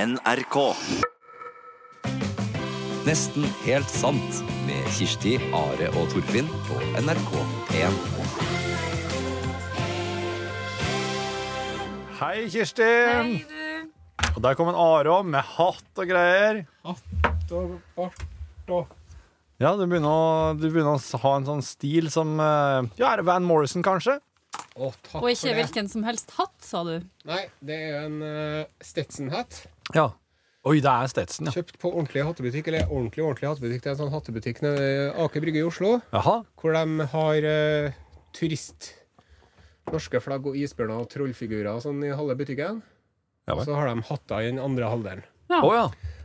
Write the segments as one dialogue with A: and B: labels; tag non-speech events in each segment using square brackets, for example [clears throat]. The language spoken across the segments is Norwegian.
A: NRK.
B: Nesten helt sant med Kirsti, Are og Torfinn på NRK P1.
C: Hei, Kirsti.
D: Hei, du.
C: Og der kom en Are om med hatt og greier. Ja, du begynner å, du begynner å ha en sånn stil som eh, Ja, er det Van Morrison, kanskje?
E: Å, takk
D: Og ikke
E: for det.
D: hvilken som helst hatt, sa du.
E: Nei, det er en eh, Stetson-hatt.
C: Ja. Oi, det er Stetson, ja.
E: Kjøpt på ordentlig hattebutikk. Eller ordentlig ordentlig hattebutikk. Det er en sånn hattebutikk nede ved Aker Brygge i Oslo,
C: Jaha.
E: hvor de har eh, turist... Norske flagg og isbjørner og trollfigurer og sånn i halve butikken.
C: Ja vel.
E: så har de hatter i den andre halvdelen.
D: Ja.
C: Å ja.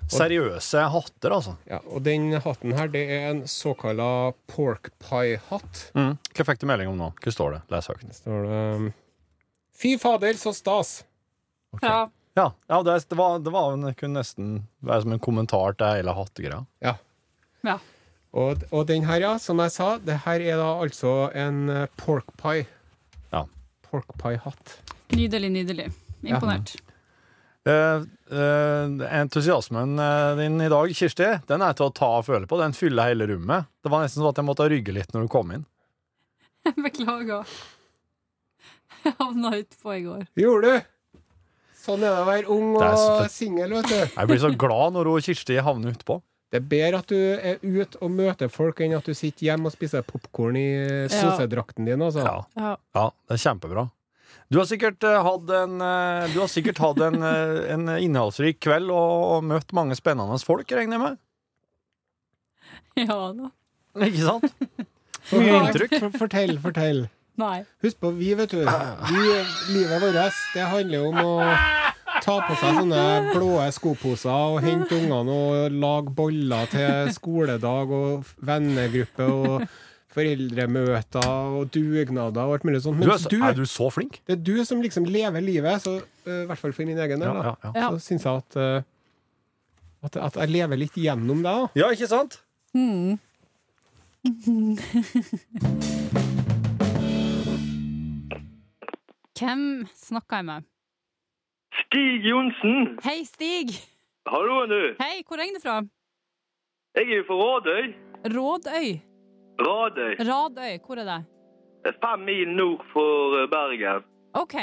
C: Seriøse hatter, altså.
E: Ja, og den hatten her, det er en såkalla pork pie-hatt.
C: Mm. Hva fikk du melding om nå? Hva står det? Les høyt.
E: Der står det um, Fy fader, så stas!
D: ja.
C: Ja, ja det, det, var, det var en, kunne nesten være som en kommentar til hele hattegreia.
E: Ja.
D: ja.
E: Og, og den her, ja, som jeg sa, det her er da altså en eh, pork pie.
C: Ja.
E: Pork pie-hatt.
D: Nydelig, nydelig. Imponert. [laughs]
C: Eh, eh, entusiasmen eh, din i dag, Kirsti, den er til å ta og føle på. Den fyller hele rommet. Det var nesten sånn at jeg måtte rygge litt når du kom inn.
D: Beklager. Jeg havna utpå i går.
E: Gjorde du? Sånn er det å være ung
C: Det er så-
E: og singel, vet du.
C: Jeg blir så glad når hun Kirsti havner utpå.
E: Det er bedre at du er ute og møter folk, enn at du sitter hjemme og spiser popkorn i eh,
D: Ja.
E: sosedrakten din, altså.
C: Ja, ja, det er kjempebra. Du har sikkert eh, hatt en, eh, du har sikkert hatt en, eh, en innholdsrik kveld og, og møtt mange spennende folk, regner jeg med.
D: Ja da.
C: Ikke sant?
E: Mye
C: inntrykk.
E: [laughs] Fortell, fortell.
D: Nei.
E: Husk på, vi, vet du. Vi, livet vårt, det handler om å ta på seg sånne blå skoposer og hente ungene og lage boller til skoledag og vennegruppe og foreldremøter og dugnader og alt mulig sånt.
C: Du er,
E: Mens
C: så-
E: du,
C: er du så flink?
E: det er du som liksom lever livet, så eh, i hvert fall for min egen del, da,
C: ja.
D: Ja.
E: så syns jeg at, eh, at, at jeg lever litt gjennom deg, da.
C: ja, ikke sant?
D: Hvem snakka jeg med?
F: Stig Johnsen!
D: Hei, Stig.
F: Hallo, du!
D: Hei, hvor er du fra?
F: Jeg er jo fra Radøy.
D: Rådøy.
F: Radøy.
D: Radøy, hvor er det?
F: Fem mil nord for eh, Bergen.
D: OK.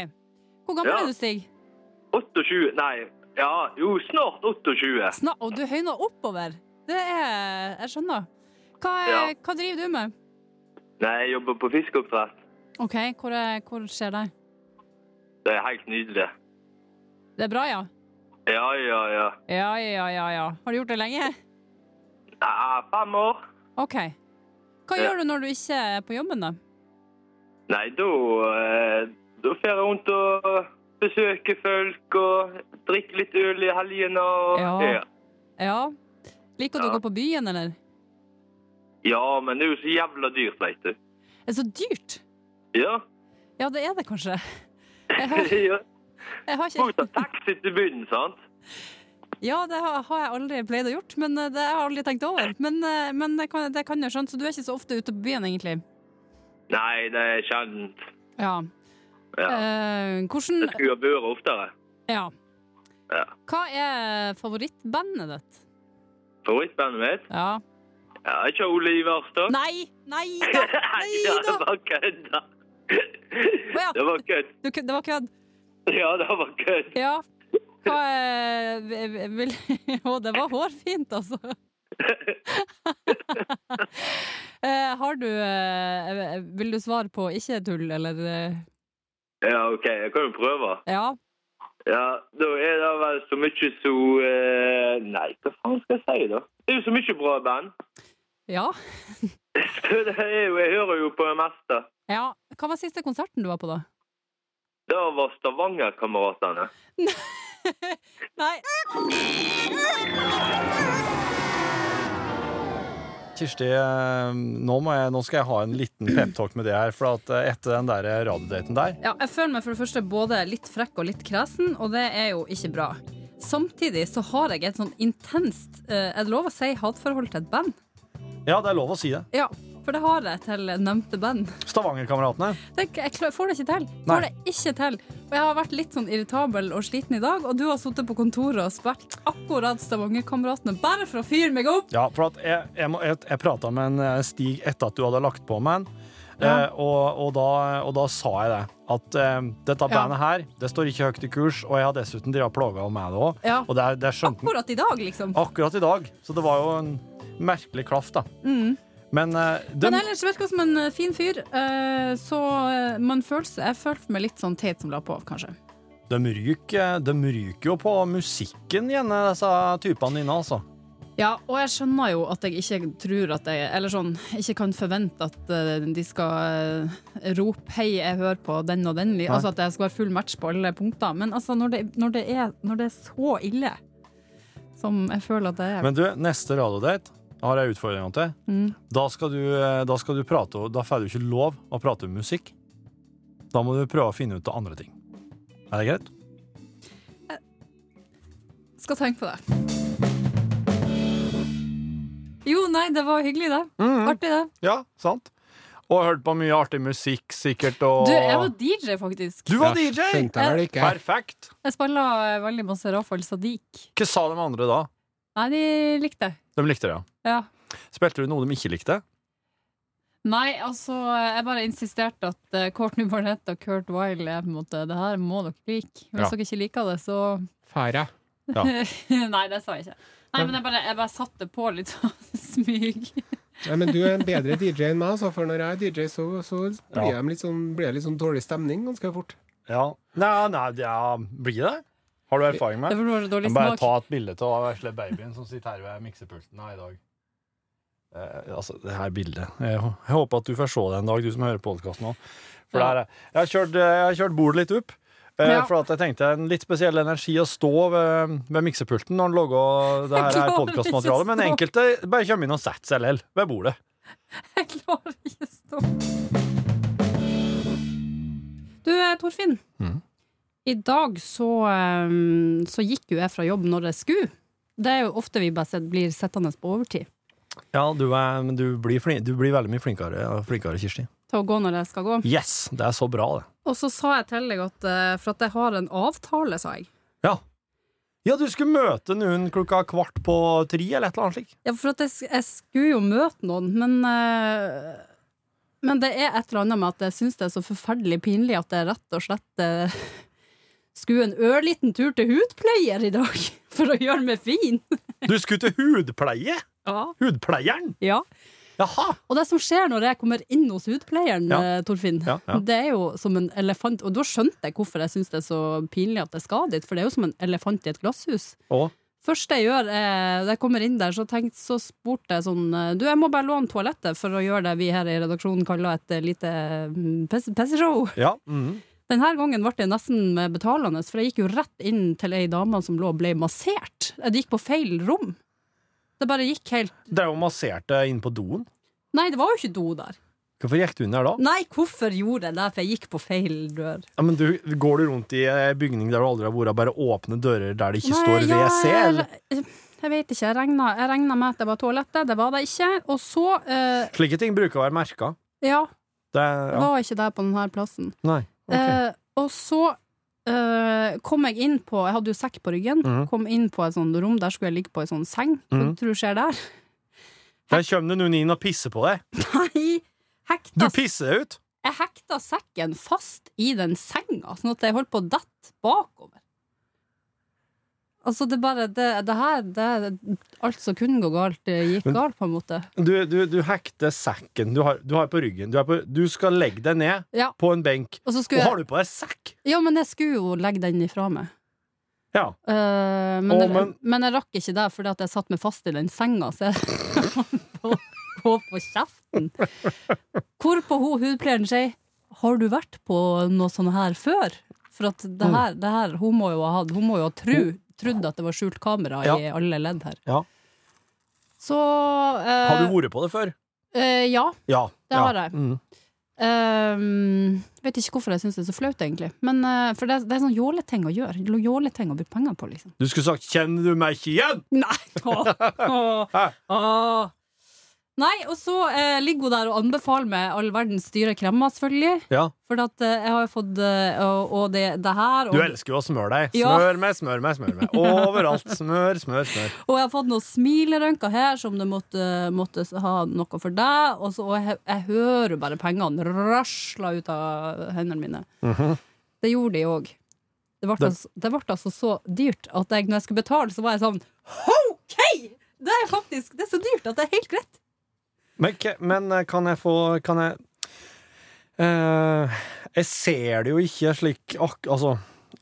D: Hvor gammel
F: Ja.
D: er du, Stig?
F: 28 Nei, ja, jo, snart 28.
D: Sna og du høyner oppover. Det er Jeg skjønner. Hva, er,
F: Ja.
D: hva driver du med?
F: Nei, jeg jobber på fiskeoppdrett.
D: OK, hvor, er, hvor skjer det?
F: Det er helt nydelig.
D: Det er bra, ja?
F: Ja, ja, ja.
D: Ja, ja, ja, ja. Har du gjort det lenge?
F: Nei, fem år.
D: OK. Hva
F: Ja.
D: gjør du når du ikke er på jobben, da?
F: Nei, da eh, Da får jeg rundt og besøker folk og drikker litt øl i helgene og
D: Ja.
F: ja.
D: Ja. Liker du
F: Ja.
D: å gå på byen, eller?
F: ja, men det er jo så jævla dyrt, veit du.
D: Er det så dyrt?
F: Ja.
D: Ja, det er det kanskje. Jeg har,
F: [laughs] ja.
D: jeg har
F: Må jo ta
D: ikke
F: taxi til byen, sant?
D: Ja, det har, har jeg aldri pleid å gjort, men eh, det har jeg aldri tenkt over. Men, eh, men det kan det kan jeg skjønne, så du er ikke så ofte ute på byen, egentlig.
F: Nei, det er sjeldent.
D: Ja.
F: Ja.
D: Eh, hvordan
F: Det skulle ha vært oftere.
D: Ja.
F: Ja.
D: Hva er favorittbandet ditt?
F: Favorittbandet mitt?
D: Ja.
F: Ja, ikke Ole Ivers, da? [laughs]
D: Nei! Nei da! Nei
F: ja, det
D: da!
F: var kødd, da.
D: ja.
F: Det var kødd.
D: Du, kø- det var kødd.
F: Ja, det var kødd.
D: Ja. Hva er vil- vil, [laughs] Å, det var hårfint, altså. [laughs] Eh, Har du eh, Vil du svare på ikke tull, eller eh,
F: Ja, OK, jeg kan jo prøve.
D: Ja.
F: Ja, Da er det vel så mye så eh, Nei, hva faen skal jeg si, da? Det er jo så mye bra band. [laughs]
D: Ja.
F: Så det er jo, Jeg hører jo på det meste.
D: ja. Hva var siste konserten du var på, da?
F: Da var Stavanger-kameratene.
D: Nei.
C: Kirsti, eh, nå, må jeg, nå skal jeg ha en liten peptalk med det her. For at eh, etter den der radiodaten der
D: Ja, jeg føler meg for det første både litt frekk og litt kresen, og det er jo ikke bra. Samtidig så har jeg et sånn intenst eh, Er det lov å si hatforhold til et band?
C: Ja, det er lov å si det.
D: Ja, For det har jeg til nevnte band.
C: Stavangerkameratene.
D: Tenk, jeg klar, får det ikke til.
C: Nei.
D: Får det ikke til. Og jeg har vært litt sånn irritabel og sliten i dag, og du har sittet på kontoret og spilt akkurat Stavangerkameratene bare for å fyre meg opp.
C: Ja, for at jeg, jeg, må- jeg, jeg prata med en eh, Stig etter at du hadde lagt på med en. Eh, og, og, da, og da sa jeg det. At eh, dette
D: Ja.
C: bandet her Det står ikke høyt i kurs, og jeg har dessuten drevet plaga med det òg.
D: Ja.
C: Og det, er- det er skjønt
D: Akkurat i dag, liksom.
C: akkurat i dag. Så det var jo en merkelig klaff, da. Men eh,
D: Mm. Men
C: den,
D: ellers virker som en eh, fin fyr, eh, så eh, man følelse, jeg følte meg litt sånn teit som la på, kanskje.
C: de, ryker, de ryker jo på musikken igjen, disse typene dine, altså.
D: Ja, og jeg skjønner jo at jeg ikke tror at jeg Eller sånn, ikke kan forvente at eh, de skal eh, rope 'hei, jeg hører på den og den', li-» altså at jeg skal være full match på alle punkter. Men altså, når det, når det, er, når det er så ille som jeg føler at det er mm,
C: Men du, neste radiodate har jeg utfordringa til. Da, skal du, eh, da skal du prate Da får du ikke lov å prate om musikk. Da må du prøve å finne ut av andre ting. Er det greit?
D: Skal tenke på det. Jo, nei, det var hyggelig, det. Artig, det.
C: Mm. Ja, sant. Og hørt på mye artig musikk, sikkert, og
D: Du, jeg var DJ, faktisk.
C: Du var
E: Jeg
C: DJ!
E: Skjønte jeg vel ikke.
C: Perfekt.
D: Jeg spilla eh, veldig masse Rafael Sadiq.
C: Hva sa de andre da?
D: Nei, de likte det.
C: De likte det, ja.
D: Ja.
C: Spilte du noe de ikke likte?
D: Nei, altså, jeg bare insisterte at eh, Courtney Barnett og Kurt Wilde er på en måte Det her må dere like. Hvis
C: Ja.
D: dere ikke liker det, så [laughs]
E: Fære.
D: Nei, det sa jeg ikke. Nei, men jeg bare, jeg bare satte på litt [laughs] sånn smyg.
E: Nei, men du er en bedre DJ enn meg, altså, for når jeg er DJ, så, så blir,
C: Ja.
E: jeg litt sånn, blir jeg litt sånn dårlig stemning ganske fort.
C: Ja. Nei, nei, ja, blir det? Har du erfaring
D: Det
C: med det?
D: var bare dårlig
C: Bare
D: smak.
C: ta et bilde av vesle babyen som sitter her ved miksepulten her i dag. Eh, altså, det her bildet jeg, hå- jeg håper at du får se det en dag, du som hører podkasten nå. For
D: Ja. [laughs]
C: det her, er- jeg har kjørt, eh, jeg har kjørt bordet litt opp. eh,
D: Ja.
C: For at jeg tenkte en litt spesiell energi å stå ved, ved miksepulten når en lager det
D: [laughs]
C: her,
D: Jeg
C: her
D: klarer
C: podkastmaterialet.
D: ikke å
C: Men enkelte bare kommer inn og setter seg likevel ved bordet.
D: Jeg klarer ikke å stå. Du, eh, Torfinn.
C: Mhm.
D: I dag så, eh, så gikk jo jeg fra jobb når jeg skulle. Det er jo ofte vi bare set- blir sittende på overtid
C: Ja, du, er, men du, blir flin, du blir veldig mye flinkere, flinkere, Kirsti.
D: til å gå når jeg skal gå.
C: Yes! Det er så bra, det.
D: Og så sa jeg til deg at eh, for at jeg har en avtale, sa jeg.
C: Ja. Ja, du skulle møte noen klokka kvart på tre, eller et eller annet slikt.
D: Ja, for at jeg, sk- jeg skulle jo møte noen, men eh, Men det er et eller annet med at jeg syns det er så forferdelig pinlig at jeg rett og slett eh, skulle en ørliten tur til hudpleier i dag [laughs] for å gjøre meg fin.
C: Du skulle til hudpleie?
D: Ja.
C: Hudpleieren?
D: ja.
C: Jaha!
D: Og det som skjer når jeg kommer inn hos hudpleieren,
C: Ja.
D: eh, Torfinn,
C: Ja, ja.
D: det er jo som en elefant Og da skjønte jeg hvorfor jeg syns det er så pinlig at jeg skal dit, for det er jo som en elefant i et glasshus.
C: Og?
D: Første jeg gjør, eh, da jeg kommer inn der, så, tenkt, så spurte jeg sånn eh, Du, jeg må bare låne toalettet for å gjøre det vi her i redaksjonen kaller et eh, lite mm, pess- pesseshow.
C: Ja. mhm.
D: Denne gangen ble det nesten eh, betalende, for jeg gikk jo rett inn til ei dame som lå og ble massert. Jeg gikk på feil rom. Det bare gikk helt
C: Det er jo massert deg inn på doen.
D: Nei, det var jo ikke do der.
C: Hvorfor gikk du inn der da?
D: Nei, hvorfor gjorde jeg det? For jeg gikk på feil dør.
C: Ja, men du, Går du rundt i ei bygning der du aldri har vært, bare åpne dører der det ikke står
D: Nei, ja,
C: WC? eller?
D: Jeg, eh, jeg vet ikke. Jeg regna, jeg regna med at det var toalettet. Det var det ikke. Og så eh,
C: Slike ting bruker å være merka.
D: Ja,
C: Det er- ja.
D: det var ikke det på denne plassen.
C: Nei. ok.
D: Eh, og så eh, kom jeg inn på Jeg hadde jo sekk på ryggen.
C: Mhm.
D: Kom inn på et sånt rom. Der skulle jeg ligge på ei sånn seng. Hva
C: Mhm.
D: tror du
C: [laughs]
D: skjer der?
C: Der kommer det noen inn og pisser på deg.
D: Nei!
C: Du
D: Hekta,
C: pisser deg ut!
D: jeg hekta sekken fast i den senga, sånn at jeg holdt på å dette bakover. Altså, det bare Det, det her det, Alt som kunne gå galt, det gikk
C: Men-
D: galt, på en måte.
C: Du, du, du hekter sekken du har, du har på ryggen. Du, er på, du skal legge deg ned
D: Ja.
C: på en benk.
D: Og så
C: Og
D: skulle
C: har
D: jeg
C: du på deg sekk!
D: Ja, men jeg skulle jo legge den ifra meg.
C: Ja.
D: Eh, men,
C: Å,
D: jeg- men...
C: men-
D: jeg rakk ikke det fordi at jeg satte meg fast i den senga, så jeg [laughs] på, på, på kjeften. Hvorpå hun hudpleieren sier 'Har du vært på noe sånt her før?' For at det her, det her hun må jo ha hatt Hun må jo ha tru, trodd at det var skjult kamera
C: Ja.
D: i alle ledd her.
C: Ja.
D: Så
C: Har
D: eh,
C: du vært på det før?
D: eh, Ja.
C: Ja.
D: Det
C: ja.
D: har jeg.
C: Mhm.
D: Um, vet ikke hvorfor jeg syns det er så flaut, egentlig. Men, eh, for det, er- det er sånn jåleting å gjøre. Jåleting å bruke penger på, liksom. [laughs]
C: Du skulle sagt 'kjenner du meg ikke igjen'?
D: Nei, nå. Åh, åh. Nei, og så eh, ligger hun der og anbefaler meg all verdens dyre kremmer, selvfølgelig.
C: Ja.
D: For at, eh, jeg har jo fått eh, og, og det, det her.
C: Du
D: Og,
C: elsker jo å smøre deg.
D: Ja.
C: Smør meg, smør meg, smør
D: [laughs]
C: meg. Overalt. Smør, smør, smør.
D: og jeg har fått noen smilerynker her som det måtte, måtte ha noe for deg. Og, så, og jeg, jeg hører bare pengene rasla ut av hendene mine. Det gjorde de òg. Det ble,
C: Det-
D: altså, det ble altså så dyrt at jeg, når jeg skulle betale, så var jeg sånn OK! Det er faktisk det er så dyrt at det er helt greit.
C: Men, ke- men eh, kan jeg få Kan jeg eh, Jeg ser det jo ikke slik ak, Altså,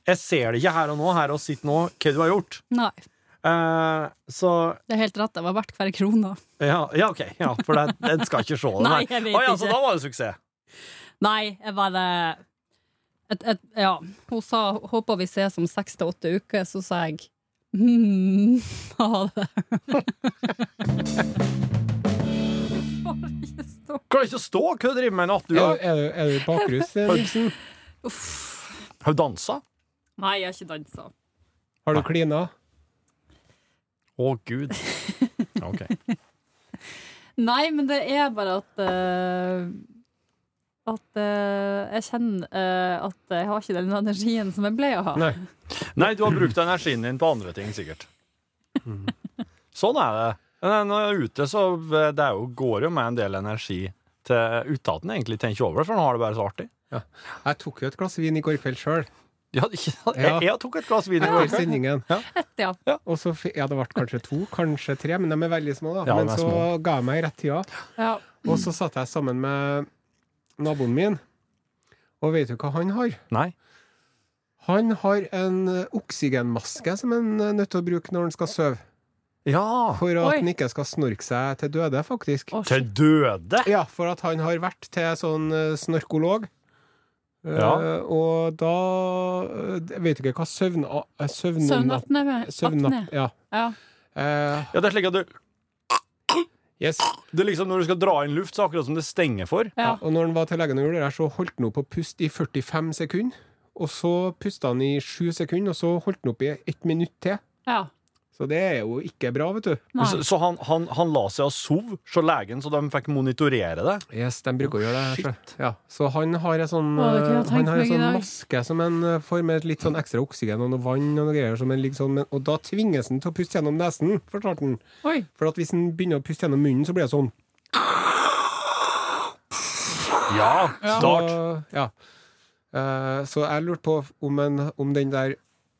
C: jeg ser det ikke her og nå, her og sitt nå, hva du har gjort.
D: Nei,
C: Eh, så
D: det er helt rett. Det var verdt hver krone.
C: ja, ja, OK. Ja, for det- en skal ikke se det.
D: [laughs] Nei, jeg vet
C: Å ja, så
D: ikke.
C: da var det suksess.
D: Nei, jeg bare et, et, Ja. Hun sa 'håper vi ses om seks til åtte uker', så sa jeg mm, [laughs] ha det. Får ikke stå.
C: Klarer ikke å stå! Hva driver du med i natt? Du
E: Er,
C: har-
E: er, du- er du
C: [laughs]
E: bakrus, eh, Nilsen?
D: Uff.
C: har du dansa?
D: Nei, jeg har ikke dansa.
E: Har du klina?
C: Å, gud. Ja, OK.
D: Nei, men det er bare at eh, At eh, jeg kjenner eh, at jeg har ikke den energien som jeg ble å ha.
E: Nei.
C: Nei, du har brukt energien din på andre ting, sikkert. Sånn er det. Men Når jeg er ute, så eh, det er jo, går jo med en del energi til uten egentlig tenker over det, for nå har det bare så artig.
E: Jeg tok jo et glass vin i går kveld sjøl,
C: Ja, ikke, jeg,
E: Ja.
C: jeg tok et glass vin i går
E: etter
C: kveld.
E: sendingen.
D: Ja.
E: Og så, fi- ja, det ble kanskje to, kanskje tre, men de er veldig små, da.
C: Ja, de
E: men
C: er
E: så
C: små.
E: ga jeg meg i rett tida,
D: Ja.
E: og så satt jeg sammen med naboen min. Og vet du hva han har?
C: Nei.
E: Han har en eh, oksygenmaske som han er nødt til å bruke når han skal sove.
C: Ja.
E: For at
D: Oi.
E: han ikke skal snorke seg til døde, faktisk.
D: Å, shit.
C: Til døde?
E: Ja, for at han har vært til sånn eh, snorkolog. Eh,
C: Ja.
E: og da eh, Jeg vet ikke hva søvn... eh, Søvnapp...
D: Søvnapne. apne.
E: Søvnapp... Ja.
D: Ja.
E: Eh,
C: Ja, det er slik at du
E: yes.
C: det er liksom Når du skal dra inn luft, så er det akkurat som det stenger for.
D: Ja.
E: Og når han var til legen og gjorde det her, så holdt han opp å puste i 45 sekunder. Og så pusta han i 7 sekunder, og så holdt han opp i ett minutt til.
D: ja.
E: Så det er jo ikke bra, vet du.
D: Nei.
C: Så, så han, han, han la seg og sov, så legen, så de fikk monitorere det.
E: Yes, de bruker å gjøre det. her, Så, ja. så han har en sånn,
D: Å, det kunne jeg
E: eh, han
D: tenkt
E: har en
D: meg i
E: sånn
D: dag.
E: maske som en eh, får med litt sånn ekstra oksygen og noe vann og noe greier. Som en ligger sånn, men, og da tvinges han til å puste gjennom nesen, fortalte han.
D: Oi.
E: For at hvis han begynner å puste gjennom munnen, så blir det sånn.
C: Ja, klart.
E: Og, ja. Eh, så jeg lurte på om, en, om den der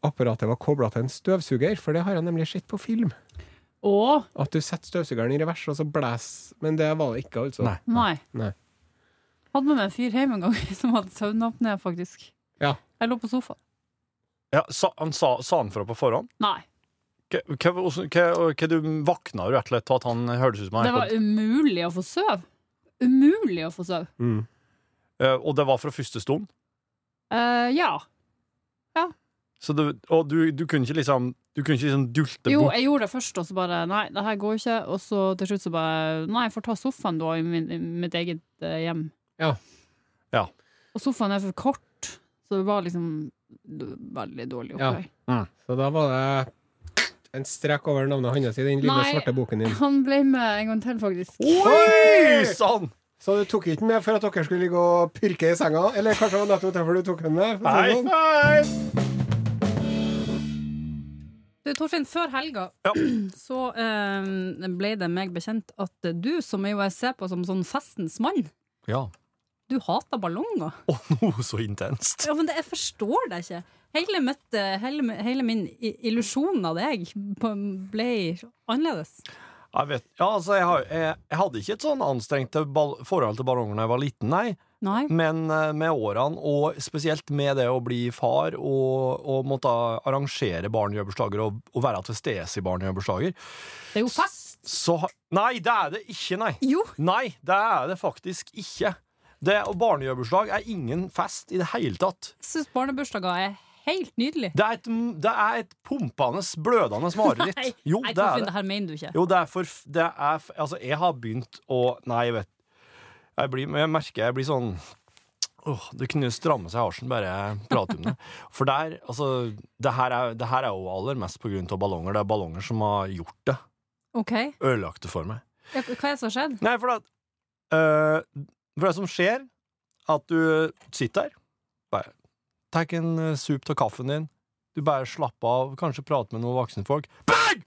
E: apparatet var kobla til en støvsuger, for det har jeg nemlig sett på film.
D: Å,
E: At du setter støvsugeren i revers, og så blæs Men det var det ikke, altså.
C: Nei.
D: nei.
E: Nei.
D: Hadde med meg en fyr hjem en gang [laughs] som hadde søvnapné, faktisk.
E: Ja.
D: Jeg lå på sofaen.
C: Ja, sa, han sa, sa han fra på forhånd?
D: Nei.
C: Hva, hva, hvordan- hva, hva du vakna du rett og slett til at han hørtes ut som han
D: Det var umulig å få søv. Umulig å få søv.
E: Mm.
C: Eh, Og det var fra første stund?
D: Eh, ja.
C: Så du, og du, du kunne ikke liksom Du kunne ikke liksom dulte
D: Jo,
C: bort
D: jeg gjorde det først, og så bare Nei, det her går ikke. Og så til slutt så bare Nei, jeg får ta sofaen da, i, min, i mitt eget eh, hjem.
E: Ja.
C: Ja.
D: Og sofaen er for kort, så det var liksom veldig dårlig
E: Ja.
D: opplegg.
E: Så da var det en strek over navnet hans i den lille
D: Nei.
E: svarte boken din.
D: Han ble med en gang til, faktisk.
C: Oi sann!
E: Så du tok ikke den med for at dere skulle ligge og pyrke i senga? Eller kanskje det var nettopp derfor du tok den med? for å si
C: Nei!
E: det sånn?
D: Du, Torfinn, før helga
C: Ja.
D: [clears throat] så eh, ble det meg bekjent at du, som jo jeg ser på som sånn festens mann,
C: Ja. [laughs]
D: du hater ballonger.
C: Og noe så intenst.
D: Ja, men det, jeg forstår det ikke. Hele, mitt, eh, hele, hele min i- illusjon av deg på- ble annerledes.
C: Jeg vet Ja, altså, jeg, har, jeg, jeg hadde ikke et sånn anstrengt til ball, forhold til ballonger da jeg var liten, nei.
D: Nei.
C: Men eh, med årene, og spesielt med det å bli far og, og måtte arrangere barnebursdager og, og være til stede i barnebursdager,
D: Det er jo fest!
C: så har- Nei, det er det ikke, nei!
D: Jo!
C: Nei, det er det faktisk ikke. Det og Barnebursdag er ingen fest i det hele tatt.
D: Jeg syns barnebursdager er helt nydelig.
C: Det er et, det er et pumpende, blødende
D: [laughs] Nei,
C: mareritt. Jo,
D: nei,
C: det
D: Torfinn,
C: er
D: det
C: det.
D: her mener du ikke.
C: Jo, det er for det er, f- Altså, jeg har begynt å Nei, jeg vet Jeg, blir, jeg merker jeg blir sånn Åh, Det kunne stramme seg i halsen bare jeg prater om det. For der, altså Det her er, det her er jo aller mest på grunn av ballonger. Det er ballonger som har gjort det.
D: OK.
C: Ødelagt det for meg.
D: Ja, Hva er det som har skjedd?
C: Nei, for, at, eh, for det som skjer, at du sitter der, bare tar en eh, sup av kaffen din, du bare slapper av, kanskje prater med noen voksenfolk, bang!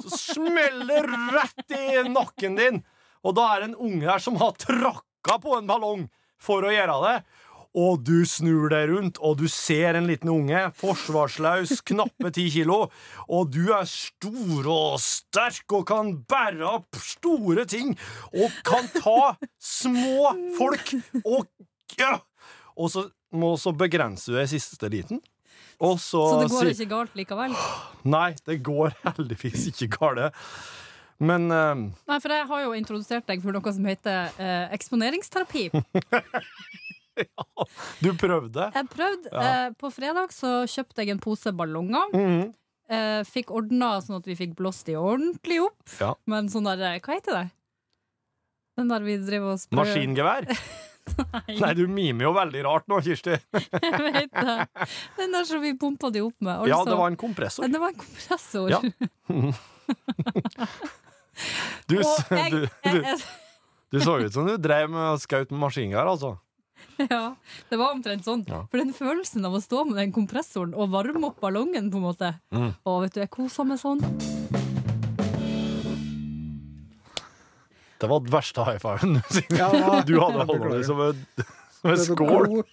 C: Så smeller det rett i nakken din, og da er det en unge her som har tråkka på en ballong for å gjøre det. Og du snur deg rundt, og du ser en liten unge, forsvarsløs, knappe ti kilo, og du er stor og sterk og kan bære opp store ting og kan ta små folk og ja. Og så, må, så begrenser du deg i siste liten. Og så,
D: Så det går
C: sier-
D: ikke galt likevel?
C: Nei, det går [laughs] heldigvis ikke galt. Men eh,
D: Nei, for jeg har jo introdusert deg for noe som heter eh, eksponeringsterapi.
C: du prøvde.
D: Jeg prøvde.
C: Ja.
D: eh, på fredag så kjøpte jeg en pose ballonger.
C: Mhm.
D: Eh, fikk ordna sånn at vi fikk blåst de ordentlig opp.
C: Ja.
D: Men sånn der, eh, hva heter det? Den der vi driver og sprø- [laughs]
C: Maskingevær? [laughs] Nei, du mimer jo veldig rart nå, Kirsti.
D: Jeg vet det. Den der som vi pumpa de opp med. Altså, eh,
C: Ja, det var en kompressor.
D: det var en kompressor. [laughs]
C: Ja, Du, s-
D: Og jeg,
C: [laughs] du,
D: jeg, [laughs]
C: du, du så ut som du drev med skaut med maskingevær, altså.
D: ja, det var omtrent sånn.
C: Ja.
D: For den følelsen av å stå med den kompressoren og varme opp ballongen, på en måte.
C: Mm.
D: Å, vet du, jeg koser meg sånn.
C: Det var den verste high fiven
E: Ja, det var-
C: du hadde holdt
E: Beklager.
C: deg som [laughs] en, som en
E: Det er så
C: skål.
E: god.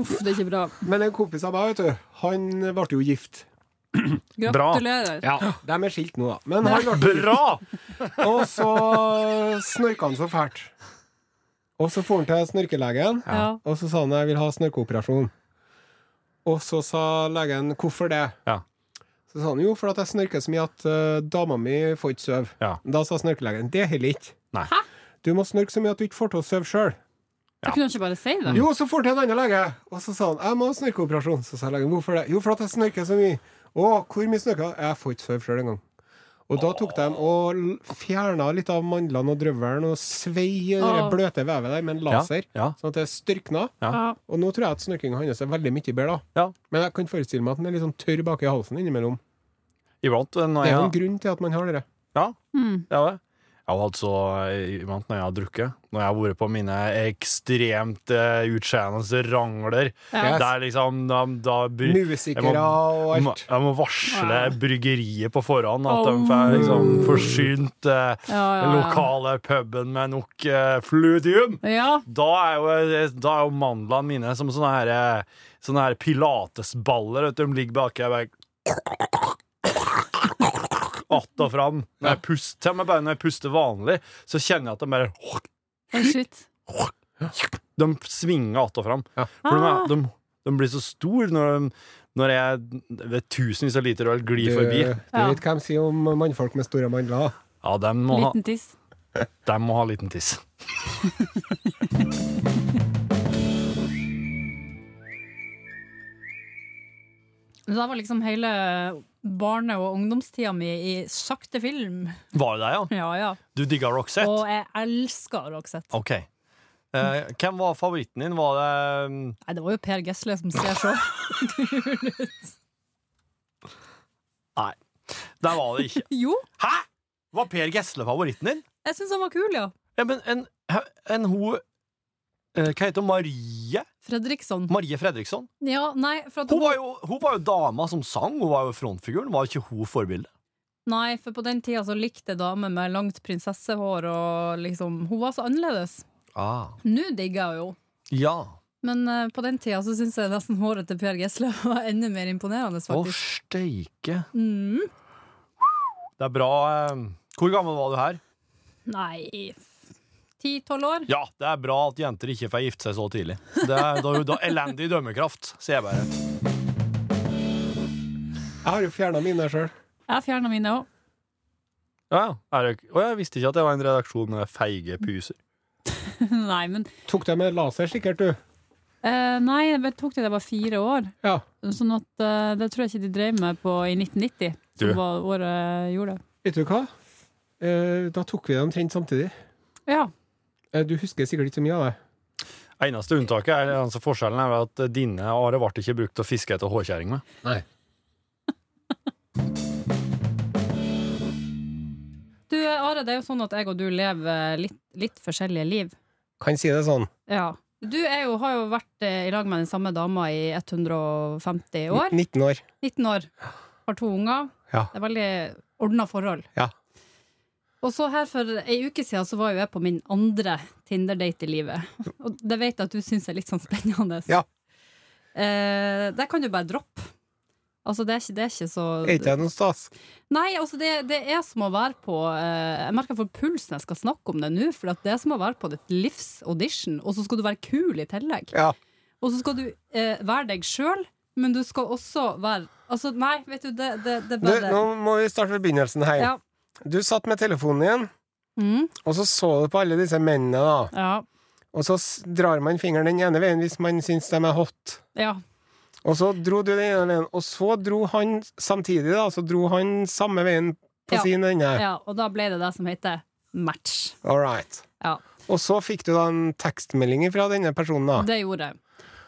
D: Uff, det er ikke bra.
E: Men en kompis av meg, vet du, han ble jo gift.
D: Gratulerer.
E: De er skilt nå, da. Men han ble
C: Bra!
E: Og så snorka han så fælt. Og så for han til snorkelegen,
D: Ja.
E: og så sa han jeg vil ha snorkeoperasjon. Og så sa legen hvorfor det?
C: Ja.
E: Så sa han jo fordi jeg snorker så mye at eh, dama mi får ikke sove.
C: Ja.
E: Da sa snorkelegen det holder ikke.
C: Nei.
E: Du må snorke så mye at du ikke får til å sove sjøl.
D: Du kunne ikke bare si det?
E: Jo, så for han til en annen lege, og så sa han jeg må ha snorkeoperasjon. Så sa legen hvorfor det? Jo, fordi jeg snorker så mye. Å, hvor mye snorker? Jeg får ikke sove sjøl engang. Og da tok de og l- fjerna litt av mandlene og drøvelen og svei i det
D: Åh.
E: bløte vevet der med en laser,
C: Ja, ja.
E: sånn at det styrkna.
D: Ja.
E: Og nå tror jeg at snorkinga hans er veldig mye bedre, da.
C: Ja.
E: Men jeg kan forestille meg at den er litt sånn tørr baki halsen innimellom.
C: Iblant når
E: Det er jo
C: jeg
E: en grunn til at man har det.
C: Ja, det er det. Jeg har altså iblant når jeg har drukket, når jeg har vært på mine ekstremt uh, utseende rangler,
E: Ja.
C: der liksom da, da bry-
E: Musikere
C: jeg
E: og
C: må,
E: alt.
C: jeg må varsle
D: Ja.
C: bryggeriet på forhånd, at
D: Oh.
C: de får liksom forsynt eh,
D: Ja,
C: den
D: ja, ja.
C: lokale puben med nok eh, fludium.
D: Ja.
C: Da er jo, eh, da er jo mandlene mine som sånne her, eh, sånne her pilatesballer. Vet du, de ligger baki og bare Att og fram. Når jeg puster, til og med bare når jeg puster vanlig, så kjenner jeg at de bare
D: Oi, shit.
C: De svinger att og fram.
E: Ja.
C: For de,
D: Ah.
C: er- de, de blir så store når, de, når jeg, det er tusenvis av liter øl
E: Du,
C: glir
E: du
C: forbi.
D: Ja.
E: vet hva de sier om mannfolk med store mandler?
C: Ja, de [laughs] må, ha,
D: Liten tiss.
C: de må ha liten tiss.
D: Da var liksom hele barne- og ungdomstida mi i sakte film. [laughs]
C: Var det deg, ja?
D: Ja, ja.
C: Du digga Roxette?
D: Og jeg elsker Roxette.
C: OK. Eh, hvem var favoritten din? Var det mm,
D: Nei, det var jo Per Gessle som ser så
C: [laughs]
D: kul ut.
C: Nei, der var det ikke.
D: [laughs] Jo,
C: Hæ?! Var Per Gessle favoritten din?
D: jeg syns han var kul, ja.
C: Ja, men en, en ho eh, Hva heter hun? Marie?
D: Fredriksson.
C: Marie Fredriksson?
D: Ja, nei, for at
C: Hun var, jo, hun var jo dama som sang, hun var jo frontfiguren. Var ikke hun forbildet?
D: Nei, for på den tida så likte jeg damer med langt prinsessehår og liksom Hun var så annerledes.
C: Ah.
D: Nå digger jeg jo.
C: Ja.
D: Men eh, på den tida så syns jeg nesten håret til Per Gessle [laughs] var enda mer imponerende,
C: Å,
D: faktisk.
C: steike.
D: Mm.
C: Det er bra. eh, Hvor gammel var du her?
D: Nei Ti-tolv år?
C: Ja, det er bra at jenter ikke får gifte seg så tidlig. Det er da, da, elendig dømmekraft, sier jeg bare.
E: Jeg har jo fjerna mine sjøl.
D: Jeg fjerna mine òg.
C: Ja, er det, og jeg visste ikke at det var en redaksjon med feige puser.
D: [laughs] nei, men
E: Tok deg med laser, sikkert, du.
D: eh, Nei, det tok det jeg var fire år.
E: Ja.
D: Sånn at eh, det tror jeg ikke de drev med på i 1990,
C: Du.
D: som var året jeg gjorde det.
E: Vet du hva? Eh, da tok vi det omtrent samtidig.
D: Ja.
E: Eh, du husker sikkert ikke så mye av det.
C: Eneste unntaket er altså forskjellen er at dine are ble ikke brukt til å fiske etter hårkjerring med.
E: Nei.
D: Du, Are, Are, det er jo sånn at jeg og du lever litt, litt forskjellige liv.
E: Kan si det sånn.
D: Ja. Du er jo, har jo vært eh, i lag med den samme dama i 150 år.
E: 19 år.
D: 19 år. Har to unger.
E: Ja.
D: Det er veldig ordna forhold.
E: Ja.
D: Og så her for ei uke siden så var jo jeg på min andre Tinder-date i livet. Og det vet jeg at du syns er litt sånn spennende.
E: Ja.
D: Eh, der kan du bare droppe. Altså, det er ikke, det er ikke så
E: Er ikke det noe stas?
D: Nei, altså det, det er som å være på eh, Jeg merker for pulsen jeg skal snakke om det nå, for at det er som å være på ditt livs audition, og så skal du være kul i tillegg.
E: Ja.
D: Og så skal du eh, være deg sjøl, men du skal også være Altså, nei, vet du, det, det, det er
E: Du,
D: bare
E: nå må vi starte ved begynnelsen her.
D: Ja.
E: Du satt med telefonen igjen,
D: Mm,
E: og så så du på alle disse mennene, da.
D: ja.
E: Og så s- drar man fingeren den ene veien hvis man syns de er hot.
D: Ja.
E: Og så dro du den ene veien, og så dro han samtidig, da. Så dro han samme veien på
D: Ja.
E: sin ende.
D: ja. Og da ble det det som heter match.
E: All right.
D: Ja.
E: Og så fikk du da en tekstmelding fra denne personen, da.
D: Det gjorde jeg.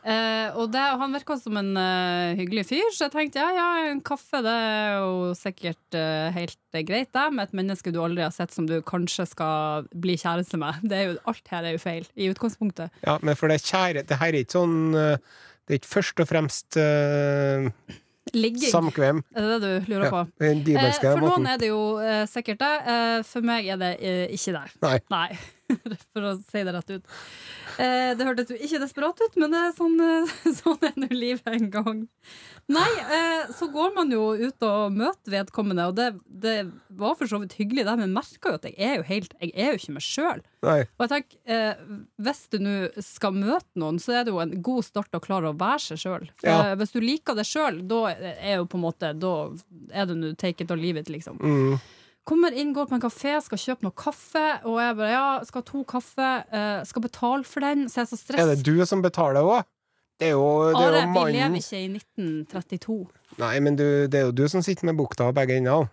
D: Eh, og det, han virka som en eh, hyggelig fyr, så jeg tenkte ja, ja, en kaffe det er jo sikkert eh, helt eh, greit, det, med et menneske du aldri har sett som du kanskje skal bli kjæreste med. Det er jo, alt her er jo feil, i utgangspunktet.
E: Ja, men for det kjære Det her er ikke sånn eh, Det er ikke først og fremst eh,
D: Ligging,
E: samkvem.
D: er det det du lurer
E: Ja,
D: på?
E: den
D: Eh,
E: bibelske
D: for noen
E: måten.
D: er det jo eh, sikkert det, eh, for meg er det eh, ikke det.
E: Nei.
D: [laughs] for å si det rett ut. Eh, det hørtes jo ikke desperat ut, men det er sånn, eh, [laughs] sånn er nå livet en gang. Nei, eh, så går man jo ut og møter vedkommende, og det, det var for så vidt hyggelig, det, men jeg merker jo at jeg er jo helt Jeg er jo ikke meg sjøl.
E: Nei.
D: Og jeg tenker, eh, Hvis du nå skal møte noen, så er det jo en god start å klare å være seg sjøl.
E: Ja.
D: Hvis du liker det sjøl, da er jo på en måte Da er det nå take it or leave it, liksom.
E: Mm.
D: Kommer inn, går på en kafé, skal kjøpe noe kaffe, og jeg bare ja, skal ha to kaffe, eh, skal betale for den, så jeg er så
E: Er det
D: stress.
E: du som betaler òg? Det er jo,
D: Are,
E: det er
D: vi
E: jo
D: lever
E: mannen
D: ikke i 1932.
E: Nei, men du, det er jo du som sitter med bukta og begge endene.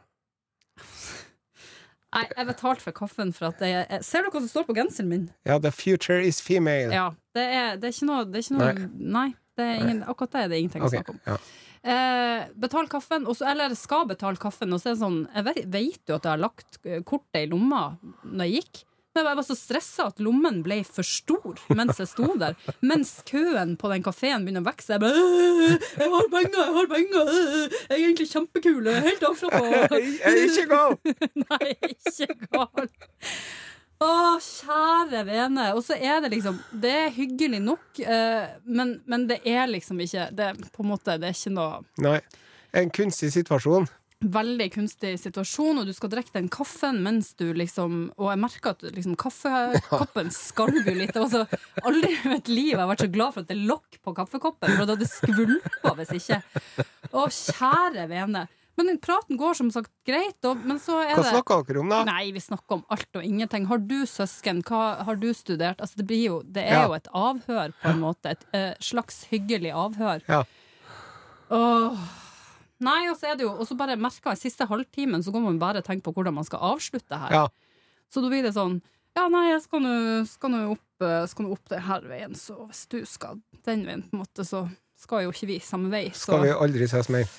D: Nei, jeg betalte for kaffen for at jeg, jeg Ser du hva som står på genseren min?
E: Ja, the future is female.
D: Ja. Det er, det er ikke noe, det er ikke noe Nei. det er ingen, akkurat det er det ingenting å
E: Ok,
D: snakke om.
E: ja.
D: Eh, betal kaffen, og så- eller skal betale kaffen. Og så er det sånn, jeg vet, vet jo at jeg har lagt eh, kortet i lomma når jeg gikk. Men jeg var så stressa at lommen ble for stor mens jeg sto der. Mens køen på den kafeen begynner å vokse. Jeg bare «Øh, Jeg har penger! Jeg har penger! øh, Jeg er egentlig kjempekul! Jeg er helt avslappa!
E: Hei, er det ikke gal!
D: [laughs] Nei, ikke gal. Å, kjære vene. Og så er det liksom Det er hyggelig nok, eh, men, men det er liksom ikke Det er på en måte Det er ikke noe
E: Nei. En kunstig situasjon.
D: veldig kunstig situasjon, og du skal drikke den kaffen mens du liksom Og jeg merker at liksom, kaffekoppen skalv jo litt. Altså, aldri i mitt liv har jeg vært så glad for at det er lokk på kaffekoppen, for det hadde skvulpa hvis ikke. Å, kjære vene. Men den praten går som sagt greit, og, men så er
E: Hva
D: det
E: snakka dere om, da?
D: Nei, vi snakker om alt og ingenting. Har du søsken? Hva har du studert? Altså, det, blir jo, det er
E: Ja.
D: jo et avhør, på en måte. Et eh, slags hyggelig avhør.
E: Ja.
D: Åh. Nei, og så er det jo Og så bare merker jeg siste halvtimen, så går man bare og tenker på hvordan man skal avslutte her.
E: Ja.
D: Så da blir det sånn Ja, nei, jeg skal nå skal nå opp, eh, skal nå opp denne veien, så hvis du skal den veien, på en måte, så skal jo ikke vi samme vei. Så.
E: Skal vi aldri ses mer.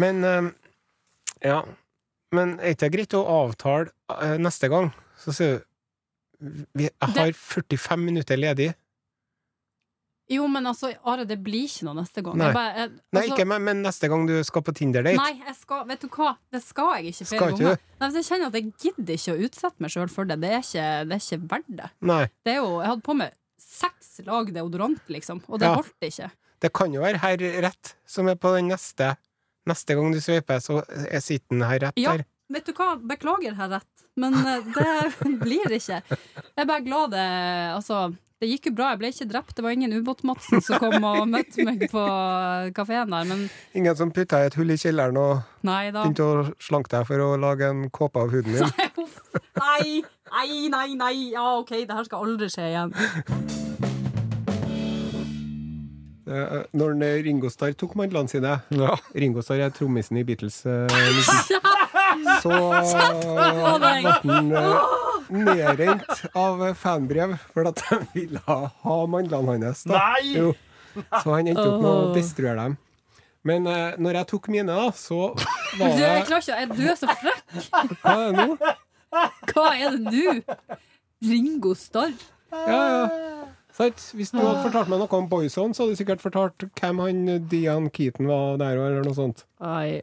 E: Men eh, Ja. Men er ikke det greit å avtale eh, neste gang? Så sier du vi, Jeg har 45 minutter ledig.
D: Jo, men altså, Are, det blir ikke noe neste gang.
E: Nei.
D: Jeg bare, jeg,
E: Nei,
D: altså-
E: ikke meg, men neste gang du skal på Tinder-date.
D: Nei, jeg skal, vet du hva? Det skal jeg ikke flere
E: Skal ikke
D: ganger. Nei, men jeg kjenner at jeg gidder ikke å utsette meg sjøl for det. Det er ikke, det er ikke verdt det.
E: Nei.
D: det er jo, jeg hadde på meg seks lag deodorant, liksom, og det
E: Ja.
D: holdt ikke.
E: Det kan jo være herr Rett som er på den neste. Neste gang du sveiper, så er sitten herr Rett
D: Ja,
E: der.
D: vet du hva? Beklager, herr Rett, men eh, det [laughs] blir ikke. Jeg er bare glad det Altså, det gikk jo bra. Jeg ble ikke drept. Det var ingen Ubåt-Madsen som kom og møtte meg på kafeen der, men
E: Ingen som putta i et hull i kjelleren og
D: nei da. [laughs]
E: begynte å slanke deg for å lage en kåpe av huden din?
D: Uff. Nei, nei, nei, nei. Ja, OK, det her skal aldri skje igjen.
E: Eh, Når en Ringo Starr tok mandlene sine Ringo Starr er trommisen i Beatles. eh,
D: [laughs]
E: liksom. Så
D: på deg!
E: ble han eh, nedrent av eh, fanbrev for at de ville ha mandlene hans. Da.
C: Nei!
E: Jo. Så han endte opp med å
D: Åh.
E: destruere dem. Men eh, når jeg tok mine, da, så var
D: [laughs] Du, jeg
E: det
D: klarer ikke, jeg- du er så frekk.
E: Hva er det nå?
D: Hva er det nå? Ringo Starr?
E: Ja, ja. Sant? Hvis du hadde fortalt meg noe om Boyzone, så hadde du sikkert fortalt hvem han Dian Keaton var der, eller noe sånt.
D: Ai.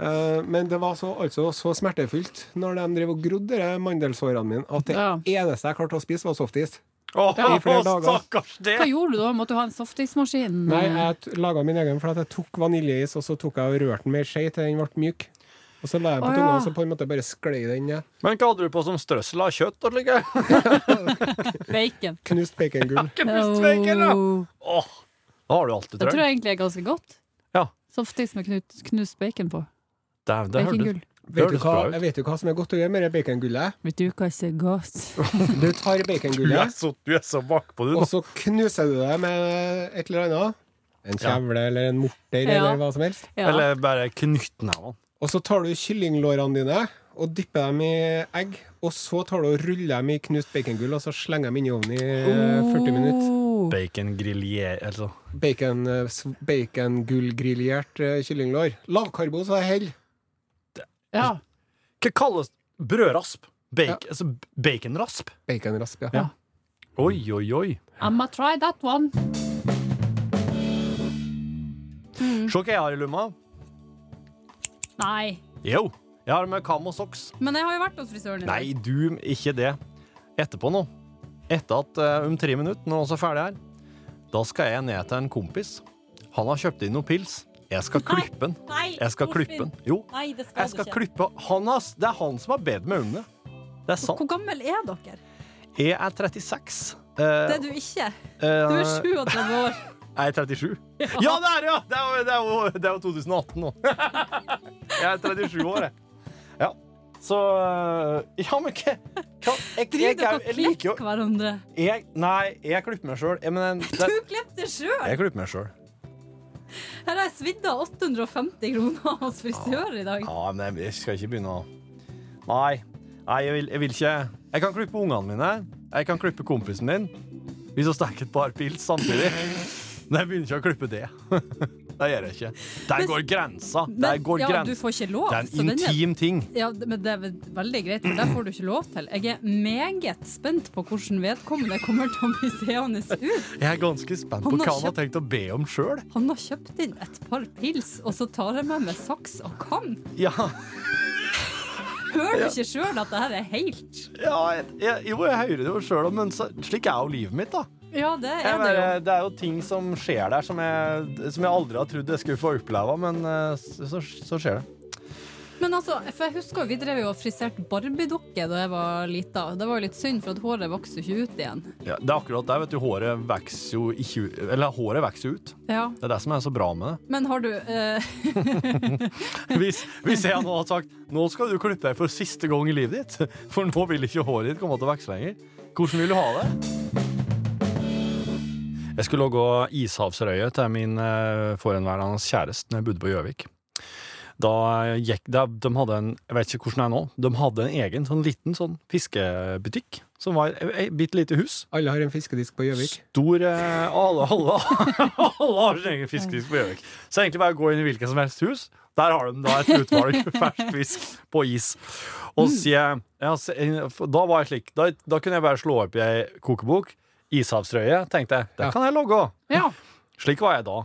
E: Eh, Men det var så, altså så smertefullt når de drev og grodde de mandelsårene mine, at det
D: Ja.
E: eneste jeg klarte å spise, var softis.
C: Åh,
E: Ja, i flere dager.
C: stakkars det!
D: Hva gjorde du da? Måtte du ha en
C: Mm.
D: softismaskin?
E: Nei, jeg t- laga min egen, for at jeg tok vaniljeis, og så tok jeg og rørte den med ei skje til den ble myk. Og så la jeg den på
D: Å,
E: tunga,
D: ja.
E: og så på en måte bare sklei den ned.
C: Men hva hadde du på som strøssel av kjøtt? Og [laughs] like?
D: Bacon.
E: Knust bacongull.
C: Knustbacon, da!
D: Oh.
C: Åh, da har du alt du
D: Det tror
C: trenger.
D: jeg egentlig er ganske godt.
C: Ja.
D: Softis med knut, knust bacon på.
C: Dæven, [laughs] det hørtes-
D: Bacongull.
E: Vet du,
C: høres
E: hva,
C: bra ut.
E: jeg vet du hva som er godt å gjøre med det bacongullet?
D: Vet du hva som er godt?
E: Du tar
C: Du er
E: bacongullet,
C: så, du er så bakpå, du.
E: og
C: nå.
E: så knuser du det med et eller annet. En kjevle eller en morter
D: Ja.
E: eller hva som helst.
D: Ja.
C: Eller bare knyttnevene.
E: Og så tar du kyllinglårene dine og dypper dem i egg. Og så tar du og ruller dem i knust bacongull, og så slenger dem inn i ovnen i eh, 40 minutter.
D: Oh.
C: Bacon grillé altså.
E: Bacon, eh, sv- Bacongullgrillert eh, kyllinglår. Lavkarbo, så det holder.
D: Ja.
C: Hva kalles brødrasp? Bacon, altså, baconrasp?
E: Baconrasp, ja.
C: Ja. Oi, oi, oi.
D: I'mma try that one.
C: Se hva jeg har i lomma.
D: Nei.
C: Jo, jeg har med kam og soks.
D: Men jeg har jo vært hos frisøren i dag.
C: Nei, du, ikke det. Etterpå nå, etter at eh, om tre minutter, når vi er ferdig her, da skal jeg ned til en kompis. Han har kjøpt inn noen pils. Jeg skal klippe den.
D: Nei,
C: Jeg skal klippe den. Jo,
D: Nei, det skal,
C: jeg skal klippe han har, Det er han som har bedt meg om det. Det er sant.
D: Hvor gammel er dere?
C: Jeg er 36.
D: Det
C: Eh,
D: er du ikke.
C: eh,
D: Du er 37 år.
C: Jeg er
D: [laughs]
C: 37. Ja, det er det, ja! Det er jo, det er jo, det er jo 2018 nå. [laughs] Jeg er 37 år, jeg. Ja. Så eh, Ja, men hva hva- Jeg, jeg,
D: Driver
C: jeg, jeg
D: dere og
C: liker jo
D: klipper hverandre?
C: jeg, Nei, jeg klipper meg sjøl. Jeg, mener,
D: Du [laughs]
C: det-
D: klippet det sjøl!
C: jeg klipper meg sjøl.
D: Her har jeg svidd av 850 kroner hos frisør i dag.
C: Ja, men jeg skal ikke begynne å Nei. Nei, jeg vil, jeg vil ikke Jeg kan klippe ungene mine. Jeg kan klippe kompisen min. Hvis vi stikker et par pils samtidig. Men jeg begynner ikke å klippe det. [laughs] Det gjør jeg ikke. Der går grensa. Der
D: Men
C: går
D: ja, du
C: grensa.
D: får ikke lov.
C: Det er
D: så
C: en
D: den er-
C: intim ting.
D: Ja, det- men det er vel veldig greit, for det får du ikke lov til. Jeg er meget spent på hvordan vedkommende kommer til å bli seende ut.
C: Jeg er ganske spent på
D: Han har
C: hva han har
D: kjøpt-
C: tenkt å be om sjøl.
D: Han har kjøpt inn et par pils, og så tar jeg med meg saks og kam.
C: Ja,
D: Hører du ikke sjøl at det her er helt
C: ja, jeg- jeg- jo, jeg hører det jo sjøl, men så, slik er jo livet mitt, da.
D: Ja, det er
C: Jeg
D: det jo.
C: bare, det er jo ting som skjer der som jeg, som jeg aldri har trodd jeg skulle få oppleve, men eh, så, så skjer det.
D: Men altså, for jeg husker jo, vi drev jo og friserte Barbie-dukke da jeg var lita. Det var jo litt synd, for at håret vokste jo ikke ut igjen.
C: Ja, det er akkurat det. vet du, Håret vokser jo ikke ut. Eller håret vokser jo ut.
D: Ja,
C: Det er det som er så bra med det.
D: Men har du eh, [laughs]
C: [laughs] Hvis, hvis jeg nå hadde sagt nå skal du klippe deg for siste gang i livet ditt, for nå vil ikke håret ditt komme til å vokse lenger, hvordan vil du ha det? Jeg skulle også gå Ishavsrøye til min eh, forhenværende kjæreste når jeg bodde på Gjøvik. Da gikk, da, de hadde en, jeg vet ikke hvordan det er nå, de hadde en egen sånn liten sånn fiskebutikk, som var et bitte lite hus.
E: Alle har en fiskedisk på Gjøvik.
C: Stor eh, Alle, alle, alle har sin egen fiskedisk på Gjøvik. Så egentlig bare gå inn i hvilket som helst hus. Der har de da et utvalg [laughs] fersk fisk på is. Og si, ja, se- da var jeg slik da, da kunne jeg bare slå opp i ei kokebok. Ishavsrøye, tenkte jeg.
E: Ja.
C: Der kan jeg logge òg.
D: Ja.
C: Slik var jeg da.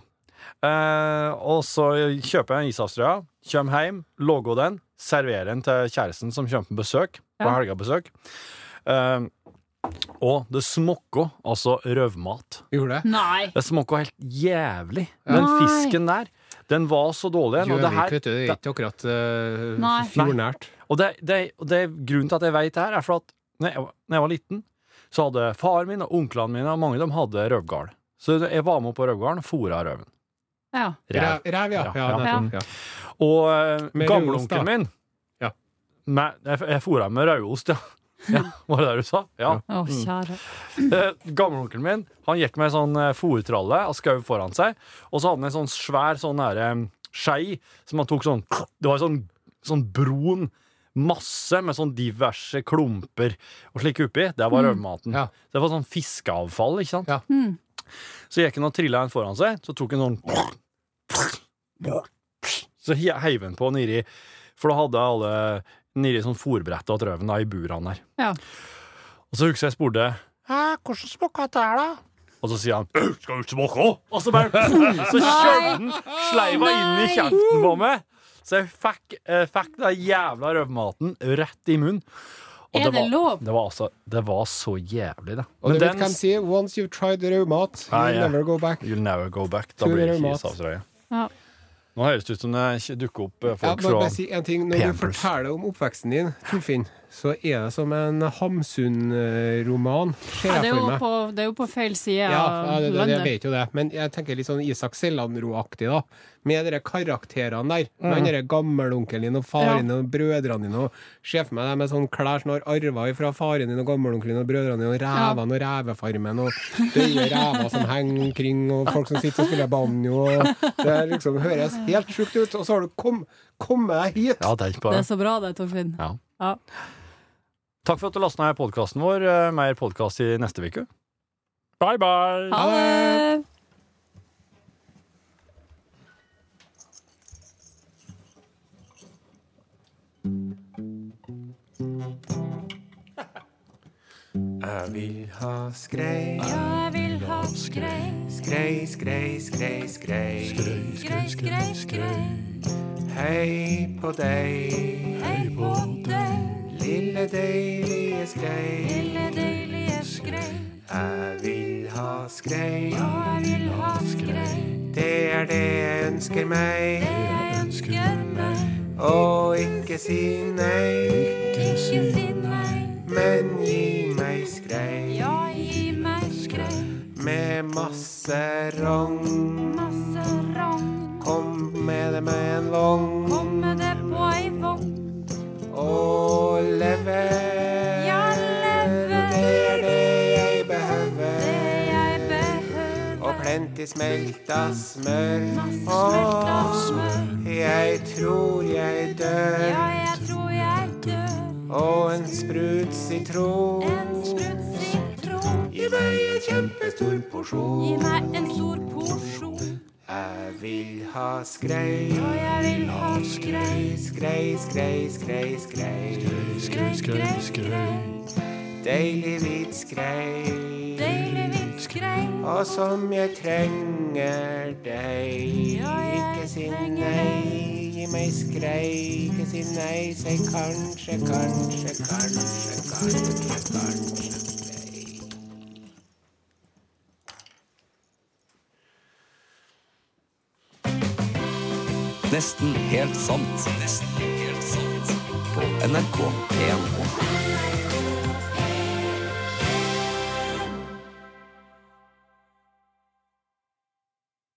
C: Eh, og så kjøper jeg en ishavsrøya, kommer hjem, logger den, serverer den til kjæresten som kommer på besøk. På
D: Ja.
C: helgebesøk. Eh, og det smokker altså røvmat.
E: Gjorde det?
D: Nei.
C: Det smaker helt jævlig. Den
D: Nei.
C: fisken der, den var så dårlig. Og det, her,
E: vet du, det er ikke akkurat eh,
D: Nei.
E: fjordnært.
C: og det, det, og det grunnen til at jeg vet det her, er for at når jeg, var- når jeg var liten, så hadde faren min og onklene mine og mange av dem hadde røvgarn. Så jeg var med på røvgarden og fôra røven.
D: Ja.
C: Ræv.
E: Ræv, ræv, ja.
C: Ja,
E: ja,
C: ja.
E: nettopp, ja.
C: Og eh,
E: Med rødost, da.
C: gamleonkelen min
E: Ja.
C: med, Jeg, jeg fôra med rødost,
E: [laughs]
C: ja. ja. Var det det du sa? Ja.
D: Å,
G: Mm.
D: kjære.
C: [laughs] Eh, Gamleonkelen min Han gikk med en sånn eh, fòrtralle av skau foran seg, og så hadde han en sånn svær sånn der, eh, skei som han tok sånn Det var en sånn, sånn brun masse med sånn diverse klumper og slik oppi. Det var røvmaten.
E: Mm. Ja.
C: Det var sånn fiskeavfall, ikke sant?
E: Ja.
D: Mm.
C: Så gikk han og trilla en foran seg, så tok han sånn Så he- heiv han på nedi For da hadde alle nedi sånn fòrbrettet og trøven da, i burene der.
G: Ja.
C: Og så husker jeg jeg spurte Hæ, hvordan smakte det her, da? Og så sier han «Øh, Skal du ikke smake òg? Og så bare Så kjørte han sleiva inn i
G: Nei.
C: kjeften på meg. Så jeg fikk, eh, fikk den jævla røvmaten rett i munnen. Og
G: Er det
C: var,
G: lov?
C: Det var, altså, det var så jævlig, det.
H: Og
C: Men
H: du vet
C: den-
H: hva de sier? Once you've tried rødmat,
C: Ah,
H: you'll
C: ja.
H: never go back.
C: You'll never go back. Da
H: Tror
C: blir
H: det er
C: det
H: mat.
C: kisavtrøye.
G: Ja.
C: Nå høres det ut som det ikke dukker opp eh,
H: Jeg
C: folk
H: må
C: fra
H: bare si en ting. Når du
C: Pampers.
H: forteller om oppveksten din, Torfinn, så er det som en Hamsun-roman. Ser
G: Ja, det,
H: jeg
G: er
H: for
G: jo
H: meg.
G: på, det er jo på feil side
H: Ja, ja
G: av
H: det, det, jeg
G: landet.
H: vet jo det. Men jeg tenker litt sånn Isak Sellandro-aktig, da. Med de karakterene der.
C: Mm.
H: Med han derre gammelonkelen din og
G: Ja.
H: faren din og brødrene dine. Og Se for meg deg med sånne klær som du har arva fra faren din og gammelonkelen din og brødrene dine, og revene og revefarmen og døde rever som henger omkring, og folk som sitter og spiller banjo, og det er liksom høres helt sjukt ut. Og så har du kom, kommet deg hit!
C: Ja, tenk på
G: Det
C: det.
G: er så bra det, Torfinn.
C: Ja.
G: Ja.
C: Takk for at du lasta ned podkasten vår. Eh, Mer podkast i neste uke. Bye, bye.
G: Ha det!
E: [laughs] Jeg vil ha skrei,
D: Jeg vil ha skrei,
E: skrei, skrei, skrei, skrei.
D: skrei, skrei, skrei.
E: Hei på deg,
D: Hei på deg,
E: lille deilige skrei.
D: lille deilige skrei.
E: Jeg vil ha skrei,
D: Og jeg vil ha skrei,
E: det er det jeg ønsker meg.
D: det jeg ønsker meg.
E: Og ikke si nei,
D: Ikke si nei,
E: men gi meg skrei.
D: ja, gi meg skrei.
E: Med masse rogn,
D: Masse rogn,
E: kom med det med en vogn.
D: kom med det på ei vogn.
E: Og leve.
D: Ja, leve.
E: Det er det jeg
D: Det
E: behøver.
D: jeg behøver,
E: Og plenty smelta smør.
D: smelt av
E: Åh,
D: smør.
E: jeg tror jeg
D: Ja,
E: dør.
D: jeg tror jeg dør.
E: Og en sprut
D: En
E: sitron.
D: sprut sitron.
E: Gi meg en kjempestor
D: Gi
E: porsjon.
D: meg en stor porsjon,
E: Jeg vil ha skrei.
D: og jeg vil ha skrei.
E: Skrei, skrei, skrei, skrei.
D: Skrei, skrei, skrei.
E: Deilig hvit skrei.
D: Deilig hvitt skrei.
E: Og som jeg trenger deg.
D: Ja, jeg
E: Ikke si
D: trenger
E: nei, gi meg skrei. Ikke si nei, si kanskje, kanskje, kanskje, kanskje, kanskje. nei.
B: Nesten helt sant. Nesten helt sant. På NRK 1